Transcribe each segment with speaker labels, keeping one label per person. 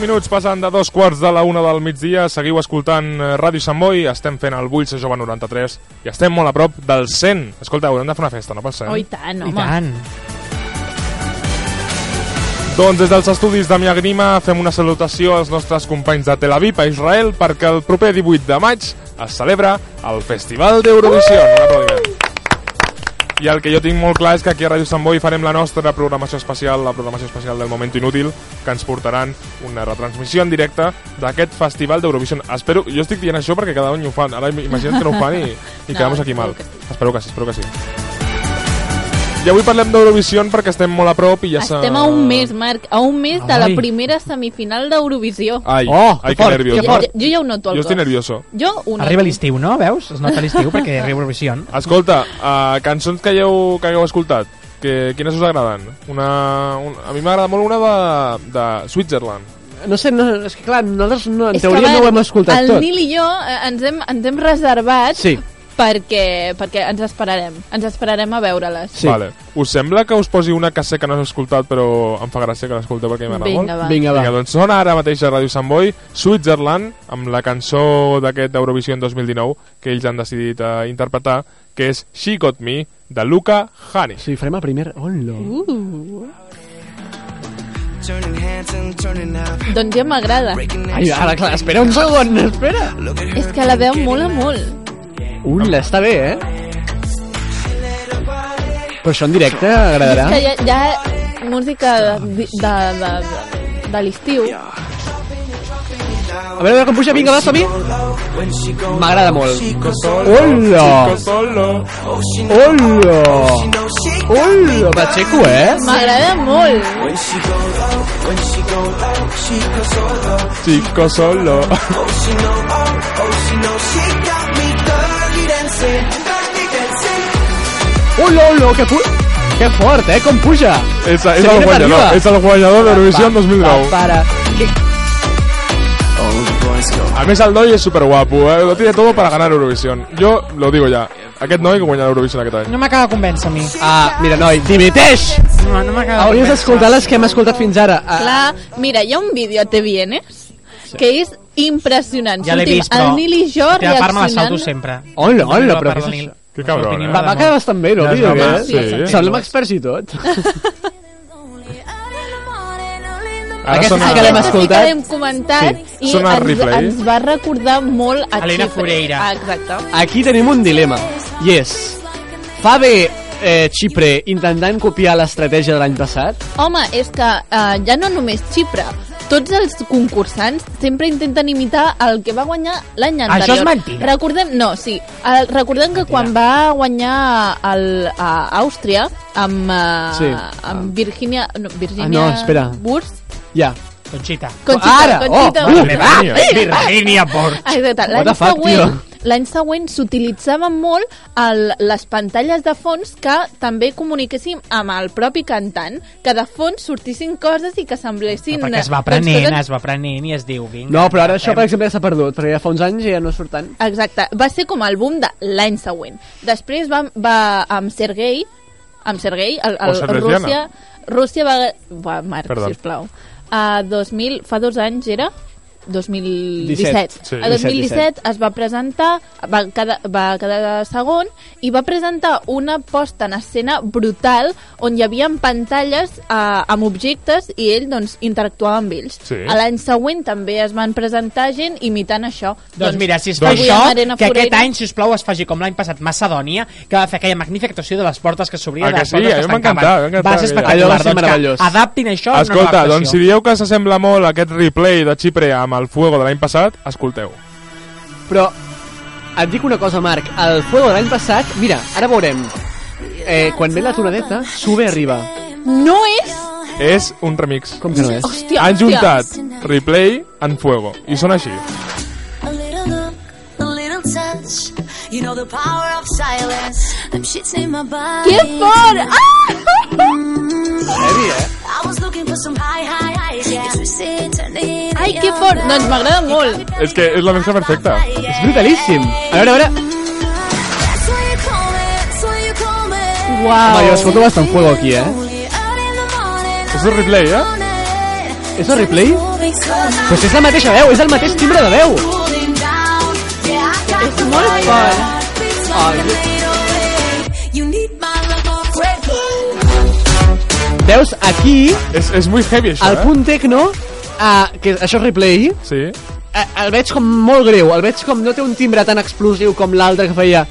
Speaker 1: minuts passen de dos quarts de la una del migdia. Seguiu escoltant eh, Ràdio Sant Boi. Estem fent el Bull Ser Jove 93 i estem molt a prop del 100. Escolta, haurem de fer una festa, no pel 100?
Speaker 2: Oh, i tant, home.
Speaker 3: I tant.
Speaker 1: Doncs des dels estudis de Miagrima fem una salutació als nostres companys de Tel Aviv a Israel perquè el proper 18 de maig es celebra el Festival d'Eurovisió. Un aplaudiment. I el que jo tinc molt clar és que aquí a Ràdio Sant Boi farem la nostra programació especial, la programació especial del Moment Inútil, que ens portaran una retransmissió en directe d'aquest festival d'Eurovision. Espero, jo estic dient això perquè cada any ho fan, ara im- imagina't que no ho fan i, i
Speaker 2: No,
Speaker 1: no, quedem aquí
Speaker 2: espero
Speaker 1: mal.
Speaker 2: que sí.
Speaker 1: Espero que sí, espero que sí. I avui parlem d'Eurovision perquè estem molt a prop i ja s'ha-
Speaker 2: Estem a un mes, Marc, a un mes de la
Speaker 3: Ai.
Speaker 2: primera semifinal d'Eurovisió.
Speaker 4: Ah,
Speaker 1: Ai,
Speaker 3: Oh,
Speaker 1: ai
Speaker 3: que
Speaker 1: que
Speaker 3: fort,
Speaker 1: nervios.
Speaker 3: que
Speaker 2: Jo,
Speaker 3: fort.
Speaker 2: jo ja ho noto al
Speaker 1: Jo estic
Speaker 2: cos.
Speaker 1: nervioso.
Speaker 2: Jo ho noto.
Speaker 3: Arriba l'estiu, no? Veus? Es nota l'estiu perquè arriba Eurovisió.
Speaker 1: Escolta, uh, cançons que hagueu, que hagueu escoltat, que, quines us agraden? Una, un, a mi m'agrada molt una de, de Switzerland.
Speaker 4: No sé, no, és que clar, nosaltres no, en
Speaker 2: És que,
Speaker 4: teoria
Speaker 2: Marc,
Speaker 4: no ho hem escoltat
Speaker 2: el
Speaker 4: tot.
Speaker 2: Nil i jo eh, ens hem, ens hem reservat
Speaker 4: Sí.
Speaker 2: perquè, perquè ens esperarem. Ens esperarem a veure-les.
Speaker 4: Sí.
Speaker 1: Vale. Us sembla que us posi una que sé que no has escoltat, però em fa gràcia que l'escolteu perquè m'agrada molt?
Speaker 2: Vinga, va.
Speaker 4: Vinga, va.
Speaker 1: Vinga, doncs sona ara mateix a Ràdio Sant Boi, Switzerland, amb la cançó d'aquest Eurovision 2019 que ells han decidit uh, interpretar, que és She Got Me, de Luca Hanish.
Speaker 4: Sí, farem el primer... Oh, no.
Speaker 2: Uh,
Speaker 5: Turning hands and turning up.
Speaker 2: doncs ja m'agrada.
Speaker 4: Ai, ara, clar, espera un segon, espera.
Speaker 5: Look at her
Speaker 2: És que la veu mola molt.
Speaker 4: Ula, està bé, eh? Però això en directe agradarà.
Speaker 2: És que hi ha, hi ha música de, de, de, de, de l'estiu.
Speaker 4: A veure, a veure com puja, vinga, va, som-hi.
Speaker 5: low when she goes.
Speaker 4: M'agrada molt.
Speaker 1: Chico
Speaker 4: Hola!
Speaker 1: solo.
Speaker 5: Oh, she knows.
Speaker 4: Hola!
Speaker 5: She knows she got
Speaker 4: Hola, Pacheco, eh?
Speaker 2: M'agrada molt.
Speaker 5: When she go low, when she go low, she goes solo.
Speaker 1: Chico solo.
Speaker 5: Oh, she know, oh, oh, she know she got me dirty dancing, dirty dancing.
Speaker 4: Hola, hola, que fu... Que fort, eh? Com puja!
Speaker 1: és, és
Speaker 4: Se
Speaker 1: el
Speaker 4: viene para
Speaker 1: guanyador,
Speaker 4: arriba.
Speaker 1: és el guanyador d'Eurovision 2009.
Speaker 4: Pa, para. Que...
Speaker 5: All the boys go.
Speaker 1: A més, el noi és superguapo, eh? Lo tiene todo para ganar Eurovisión. Yo lo digo ya. Aquest noi que guanyarà Eurovisión aquest any.
Speaker 3: No m'acaba de convèncer a mi.
Speaker 4: Ah, mira, noi, dimiteix!
Speaker 3: No, no m'acaba de
Speaker 4: Hauries
Speaker 3: convèncer.
Speaker 4: d'escoltar les que hem escoltat fins ara. Ah,
Speaker 2: Clar, mira, hi ha un vídeo a Te Vienes que és impressionant.
Speaker 3: Ja l'he
Speaker 2: Sortim
Speaker 3: vist, però...
Speaker 2: El Nil i jo
Speaker 3: La teva part me la salto
Speaker 2: reaccionant...
Speaker 3: sempre.
Speaker 4: Hola,
Speaker 3: La
Speaker 4: hola,
Speaker 3: meva
Speaker 4: però
Speaker 3: part
Speaker 4: què
Speaker 3: de
Speaker 4: és
Speaker 3: Nil.
Speaker 4: això?
Speaker 1: Que cabró,
Speaker 3: L'opinió
Speaker 1: eh?
Speaker 4: va,
Speaker 3: m'agrada
Speaker 4: va
Speaker 3: molt.
Speaker 4: quedar bastant bé, no?
Speaker 3: No,
Speaker 4: Vídeo,
Speaker 3: no,
Speaker 4: no,
Speaker 3: va,
Speaker 1: sí,
Speaker 4: eh?
Speaker 1: sí.
Speaker 4: Semblem experts i tot.
Speaker 1: Ara
Speaker 4: Aquesta
Speaker 1: sona-
Speaker 4: sí que l'hem
Speaker 2: Aquesta sí que
Speaker 4: escoltat.
Speaker 2: l'hem comentat
Speaker 1: Sí.
Speaker 2: i
Speaker 1: Sona el
Speaker 2: ens,
Speaker 1: replay.
Speaker 2: ens va recordar molt a
Speaker 3: Elena
Speaker 2: Xipre.
Speaker 3: Foreira.
Speaker 2: Ah, exacte.
Speaker 4: Aquí tenim un dilema. I és... Fa bé eh, Xipre intentant copiar l'estratègia de l'any passat?
Speaker 2: Home, és que eh, ja no només Xipre, tots els concursants sempre intenten imitar el que va guanyar l'any
Speaker 3: Això
Speaker 2: anterior.
Speaker 3: és mentida.
Speaker 2: Recordem, no, sí, el, recordem que quan va guanyar el, a Àustria amb, eh,
Speaker 4: Sí.
Speaker 2: amb Virginia, no, Virginia
Speaker 4: Ah, no, espera.
Speaker 2: Wurs,
Speaker 4: Ja.
Speaker 3: Conxita.
Speaker 2: Conchita,
Speaker 4: Ara,
Speaker 2: Conchita,
Speaker 4: oh,
Speaker 2: Wurst.
Speaker 3: Me va, Virginia Port.
Speaker 2: Exacte,
Speaker 4: What
Speaker 2: l'any
Speaker 4: the fuck,
Speaker 2: següent,
Speaker 4: tio?
Speaker 2: l'any següent s'utilitzaven molt el, les pantalles de fons que també comuniquéssim amb el propi cantant, que de fons sortissin coses i que semblessin...
Speaker 3: Perquè es va
Speaker 2: doncs,
Speaker 3: prenent,
Speaker 2: coses-
Speaker 3: es va prenent i es diu... Vinga,
Speaker 4: No, però ara això, per
Speaker 3: fem.
Speaker 4: exemple, ja s'ha perdut, perquè ja fa uns anys ja no surt tant.
Speaker 2: Exacte, va ser com el boom de l'any següent. Després va, va amb Sergei, amb Sergei, el,
Speaker 1: O
Speaker 2: el,
Speaker 1: Sergeyiana.
Speaker 2: Rússia, Rússia va... Va, Marc,
Speaker 1: Perdó.
Speaker 2: Perdó. sisplau. A 2000, fa dos anys era? 2017.
Speaker 1: Sí.
Speaker 2: a 2017 es va presentar, va quedar, va quedar segon i va presentar una posta en escena brutal on hi havia pantalles eh, amb objectes i ell doncs, interactuava amb ells.
Speaker 1: Sí.
Speaker 2: A L'any següent també es van presentar gent imitant això.
Speaker 3: Doncs mira, si es fa
Speaker 2: Avui
Speaker 3: això,
Speaker 2: amb Arena
Speaker 3: que aquest
Speaker 2: Foreira.
Speaker 3: any, si us plau, es faci com l'any passat Macedònia, que va fer aquella magnífica actuació de les portes que s'obrien
Speaker 1: Ah,
Speaker 3: i
Speaker 1: que
Speaker 3: les
Speaker 1: sí? A
Speaker 3: portes que
Speaker 1: mi
Speaker 3: es
Speaker 1: m'encantava,
Speaker 3: tancaven.
Speaker 1: m'encantava
Speaker 3: Va
Speaker 1: aquella.
Speaker 3: ser
Speaker 4: Allò va
Speaker 3: espectacular.
Speaker 4: ser
Speaker 3: Doncs
Speaker 4: meravellós.
Speaker 3: que adaptin això a una nova
Speaker 1: Escolta,
Speaker 3: actuació.
Speaker 1: doncs si dieu que s'assembla molt aquest replay de Xipre amb el Fuego de l'any passat, escolteu.
Speaker 4: Però et dic una cosa, Marc, el Fuego de l'any passat, mira, ara veurem. Eh, quan ve la tonadeta, sube arriba.
Speaker 2: No és...
Speaker 1: És un remix.
Speaker 4: Com que no és?
Speaker 2: Hòstia,
Speaker 1: Han
Speaker 2: hòstia.
Speaker 1: juntat replay en Fuego. I sona així.
Speaker 6: A little look, a little touch. You know the power of silence. I'm shitting my body. Mm.
Speaker 2: Que fort! Ah!
Speaker 4: Heavy, eh?
Speaker 6: I was looking for some high, high, high. Yeah. You twisted, turned it
Speaker 2: Ai,
Speaker 6: the
Speaker 2: que
Speaker 6: other
Speaker 2: fort! Doncs m'agrada molt.
Speaker 1: És que és la mescla perfecta.
Speaker 6: way.
Speaker 4: És brutalíssim. A veure, a veure.
Speaker 6: That's what you call it, that's what you call it.
Speaker 2: Uau.
Speaker 4: Home, jo escolto bastant Fuego aquí, eh?
Speaker 6: Only out in the morning,
Speaker 1: És un replay, eh?
Speaker 6: on it.
Speaker 4: És el replay? Pues és la mateixa veu, és el mateix timbre de veu.
Speaker 6: És
Speaker 2: molt fort.
Speaker 4: Ah, Veus, aquí,
Speaker 1: Es, es muy heavy això,
Speaker 4: al
Speaker 1: eh?
Speaker 4: punt tecno, uh, que això és replay,
Speaker 1: Sí.
Speaker 4: eh, el veig com molt greu, el veig com no té un timbre tan explosiu com l'altre que feia.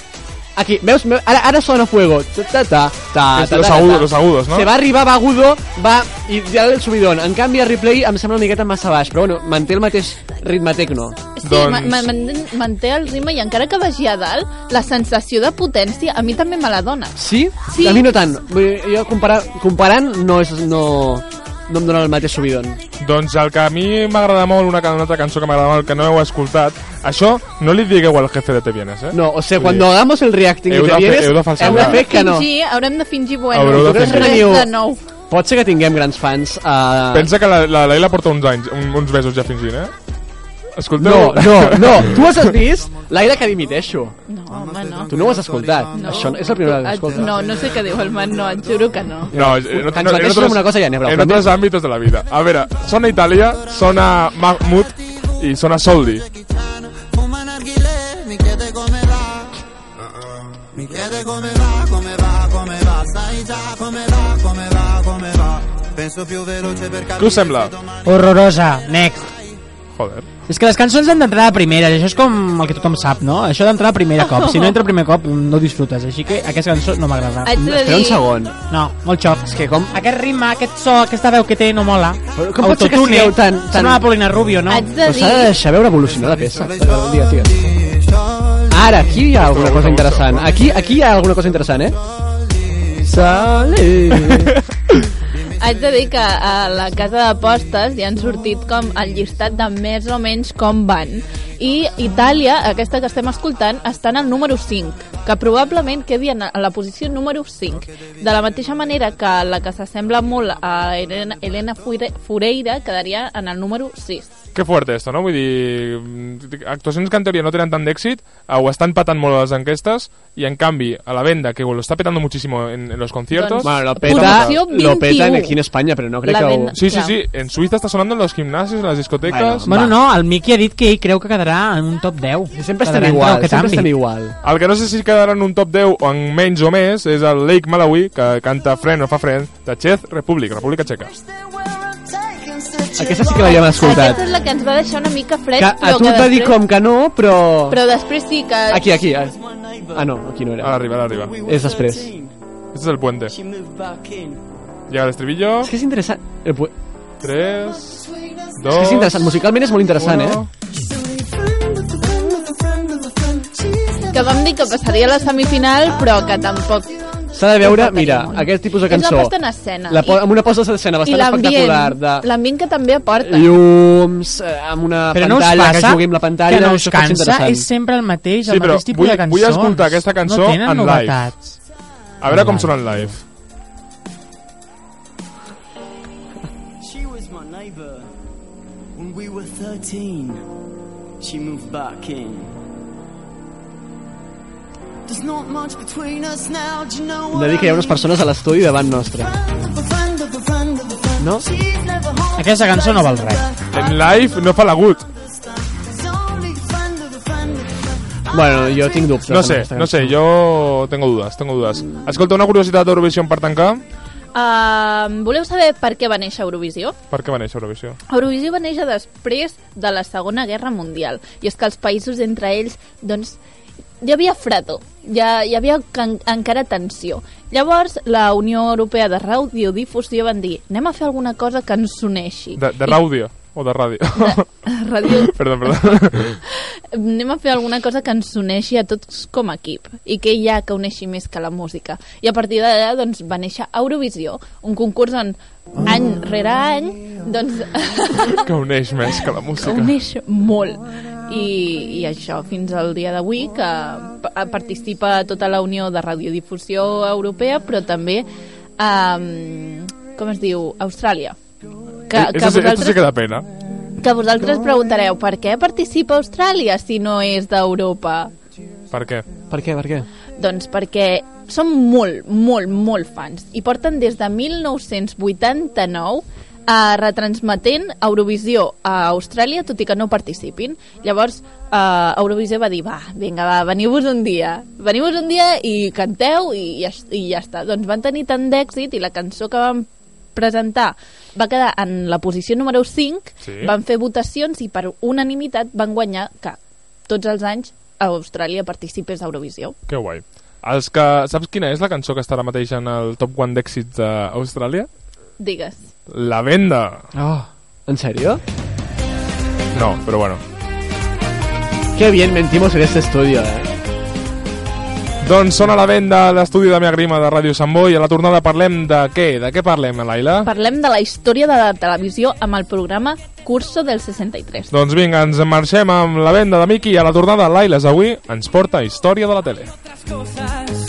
Speaker 4: Aquí, veus? Me- Ara, ara sona fuego. Ta, ta, ta, Ah, ta, ta,
Speaker 1: Los
Speaker 4: ta, ta.
Speaker 1: agudos, los agudos, no?
Speaker 4: Se va arribar, va agudo, va... I ja el subidon. En canvi, a replay em sembla una miqueta massa baix, però bueno, manté el mateix ritme tecno.
Speaker 2: Sí,
Speaker 1: Doncs-
Speaker 2: ma- ma- man- manté el ritme i encara que vagi a dalt, la sensació de potència a mi també me la dona.
Speaker 4: Sí?
Speaker 2: Sí.
Speaker 4: A mi no tant. Vull dir, Jo comparar, comparant no, és, no, no em dóna el mateix subidon.
Speaker 1: Doncs el que a mi m'agrada molt, una, ca- una altra cançó que m'agrada molt, que no heu escoltat, això no li digueu al jefe de Te Vienes, eh?
Speaker 4: No, o sea,
Speaker 1: Vull
Speaker 4: cuando
Speaker 1: dir,
Speaker 4: hagamos el reacting
Speaker 1: Heu de
Speaker 4: i te
Speaker 1: fer-
Speaker 4: vienes,
Speaker 1: heu de
Speaker 4: hem de
Speaker 1: falsejar.
Speaker 4: fer que no.
Speaker 2: Fingir, haurem de fingir, bueno,
Speaker 1: Haureu de
Speaker 2: res
Speaker 1: fingir.
Speaker 2: de nou.
Speaker 4: Pot ser que tinguem grans fans eh, a...
Speaker 1: Pensa que la, la Laila porta uns anys, un, uns mesos ja fingint, eh? Escolteu...
Speaker 4: No, no, no. tu has vist l'aire que dimiteixo.
Speaker 2: No, home, no.
Speaker 4: Tu no ho has escoltat.
Speaker 2: No.
Speaker 4: Això no- és la primera vegada que
Speaker 2: Et-
Speaker 4: escoltes.
Speaker 2: No, no sé què diu el man, no, et juro que no.
Speaker 1: No, eh, no,
Speaker 4: Que ens
Speaker 1: no, en
Speaker 4: mateixin
Speaker 1: otros-
Speaker 4: amb una cosa ja n'hi haurà,
Speaker 1: En
Speaker 4: però
Speaker 1: otros ámbitos de la vida. A veure, sona Itàlia, sona Mahmoud i sona Soldi.
Speaker 7: Mi chiede come va, come va, come va, sai già come va, come va, come va. Penso più veloce per capire
Speaker 1: Què us sembla?
Speaker 7: se domani
Speaker 3: Horrorosa, next.
Speaker 1: Joder.
Speaker 3: És que les cançons han d'entrar de primera, i això és com el que tothom sap, no? Això d'entrar de primera cop. Si no entra de primer cop, no ho disfrutes. Així que aquesta cançó no m'agrada.
Speaker 2: Et de
Speaker 4: Espera un segon.
Speaker 3: No, molt xoc. És que com... Aquest ritme, aquest so, aquesta veu que té no mola.
Speaker 4: Però com pot ser que sigueu tan- tan-
Speaker 3: Sembla la Paulina Rubio, no?
Speaker 2: Haig de
Speaker 4: Però s'ha de
Speaker 2: dir...
Speaker 4: deixar veure evolucionar la peça.
Speaker 7: i
Speaker 4: Un dia, tio.
Speaker 7: soldi, soldi.
Speaker 4: Ara, aquí hi ha alguna cosa interessant. Aquí, aquí hi ha alguna cosa interessant, eh? Sale.
Speaker 2: Haig de dir que a la casa d'apostes ja han sortit com el llistat de més o menys com van. I Itàlia, aquesta que estem escoltant, està en el número 5, que probablement quedi en la posició número 5. De la mateixa manera que la que s'assembla molt a Elena, Elena Fuire- Fureira quedaria en el número 6.
Speaker 1: Que fuerte esto, no? Vull dir, mm, actuacions que en teoria no tenen tant d'èxit eh, ho estan patant molt a les enquestes i en canvi a la venda, que lo está petando muchísimo en, en los conciertos...
Speaker 2: Doncs-
Speaker 4: Bueno, lo peta,
Speaker 2: Posició
Speaker 4: lo peta
Speaker 2: 21.
Speaker 4: aquí en Espanya, però no crec
Speaker 2: La
Speaker 4: que ho...
Speaker 2: venda-
Speaker 1: sí, sí,
Speaker 2: clar.
Speaker 1: sí, en Suïssa està sonando en los gimnasios, en las discotecas...
Speaker 4: Bueno,
Speaker 3: Bueno,
Speaker 4: Va.
Speaker 3: no, el Miki ha dit que ell creu que quedarà en un top 10.
Speaker 4: Sempre
Speaker 3: Quedarà
Speaker 4: estan
Speaker 3: entre el
Speaker 4: igual,
Speaker 3: que
Speaker 4: sempre
Speaker 3: canvi.
Speaker 4: estan igual.
Speaker 1: El que no sé si quedarà en un top 10 o en menys o més és el Lake Malawi, que canta Friend o fa Friend, de Czech Republic, República Txeca.
Speaker 4: Aquesta sí que l'havíem escoltat.
Speaker 2: Aquesta és la que ens va deixar una mica fred,
Speaker 4: Que a
Speaker 2: però
Speaker 4: tu
Speaker 2: Eh, que
Speaker 4: et va dir
Speaker 2: després-
Speaker 4: com que no, però...
Speaker 2: Però després sí que...
Speaker 4: Aquí, aquí. Ah, ah, no, aquí no
Speaker 1: Ara
Speaker 4: era.
Speaker 1: arriba, ara arriba.
Speaker 4: És després.
Speaker 1: Este es el puente. Llega el estribillo.
Speaker 4: És que és interessant. Eh, pu-
Speaker 1: 3,
Speaker 4: És
Speaker 3: Oh.
Speaker 4: que és
Speaker 1: 2,
Speaker 4: interessant. Musicalment és molt interessant, eh?
Speaker 2: que vam dir que passaria a la semifinal, però que tampoc...
Speaker 4: S'ha ¿eh? de veure,
Speaker 2: Tampoc
Speaker 4: mira,
Speaker 2: tenim molt.
Speaker 4: aquest tipus de
Speaker 2: És la
Speaker 4: cançó.
Speaker 2: posta en escena.
Speaker 4: La po
Speaker 2: I-
Speaker 4: amb una posta en escena
Speaker 2: I
Speaker 4: bastant
Speaker 2: l'ambient,
Speaker 4: espectacular de
Speaker 2: l'ambient que també aporta.
Speaker 4: llums, eh, amb una
Speaker 3: Però no us
Speaker 4: pantalla que
Speaker 3: passa
Speaker 4: jugui amb la pantalla,
Speaker 3: que no us
Speaker 4: això pot ser
Speaker 3: cansa?
Speaker 4: interessant.
Speaker 3: És sempre el mateix,
Speaker 1: Sí,
Speaker 3: el
Speaker 1: però
Speaker 3: mateix tipus
Speaker 1: vull-
Speaker 3: de cançons.
Speaker 1: vull escoltar aquesta cançó
Speaker 3: no tenen
Speaker 1: en live.
Speaker 3: novetats.
Speaker 1: A veure com sona en live.
Speaker 8: She was my neighbour when we were 13. She moved back in. There's not much between us now, do you know
Speaker 4: Hem
Speaker 8: what?
Speaker 4: de dir que hi ha unes persones a l'estudi davant nostre. No?
Speaker 3: Aquesta cançó no val res.
Speaker 1: En live no fa l'agut.
Speaker 4: Bueno, jo tinc dubtes.
Speaker 1: No
Speaker 4: amb
Speaker 1: sé,
Speaker 4: aquesta
Speaker 1: no sé,
Speaker 4: cançó.
Speaker 1: jo tengo dudas, tengo dudas. Escolta, una curiositat d'Eurovision per tancar.
Speaker 2: Uh, voleu saber per què va néixer Eurovisió?
Speaker 1: Per què va néixer Eurovisió?
Speaker 2: Eurovisió va néixer després de la Segona Guerra Mundial i és que els països entre ells doncs, hi havia fredo, hi, ha, hi havia can, encara tensió. Llavors, la Unió Europea de Radiodifusió van dir anem a fer alguna cosa que ens uneixi.
Speaker 1: De, de ràudio, o de ràdio.
Speaker 2: Radio,
Speaker 1: perdó, perdó.
Speaker 2: anem a fer alguna cosa que ens uneixi a tots com a equip i que hi ha que uneixi més que la música i a partir d'allà doncs, va néixer Eurovisió un concurs on
Speaker 1: Ah.
Speaker 2: any rere any doncs,
Speaker 1: que uneix més que la música.
Speaker 2: uneix molt I, i això fins al dia d'avui que pa- participa tota la Unió de Radiodifusió Europea però també um, com es diu? Austràlia que,
Speaker 1: Eh, Esto, sí- esto sí que da pena.
Speaker 2: que vosaltres preguntareu per què participa Austràlia si no és d'Europa?
Speaker 1: Per què?
Speaker 4: Per què, per què?
Speaker 2: Doncs perquè són molt, molt, molt fans i porten des de 1989 eh, retransmetent Eurovisió a Austràlia, tot i que no participin. Llavors, eh, Eurovisió va dir, va, vinga, va, veniu-vos un dia. Veniu-vos un dia i canteu i, ja- i ja està. Doncs van tenir tant d'èxit i la cançó que van presentar va quedar en la posició número 5,
Speaker 1: Sí.
Speaker 2: van fer votacions i per unanimitat van guanyar que tots els anys a Austràlia participés a Eurovisió.
Speaker 1: Que guai. Els que... Saps quina és la cançó que està ara mateix en el top 1 d'èxits d'Austràlia?
Speaker 2: Digues.
Speaker 1: La venda.
Speaker 4: Oh. ¿En serio?
Speaker 1: No, però bueno.
Speaker 4: Qué bien mentimos en este estudio, eh.
Speaker 1: Doncs són a la venda a l'estudi de Mia Grima de Ràdio Sant Boi. A la tornada parlem de què? De què parlem, Laila?
Speaker 2: Parlem de la història de la televisió amb el programa Curso del 63.
Speaker 1: Doncs vinga, ens en marxem amb la venda de Miki i a la tornada Laila avui ens porta Història de la tele.
Speaker 8: Otras cosas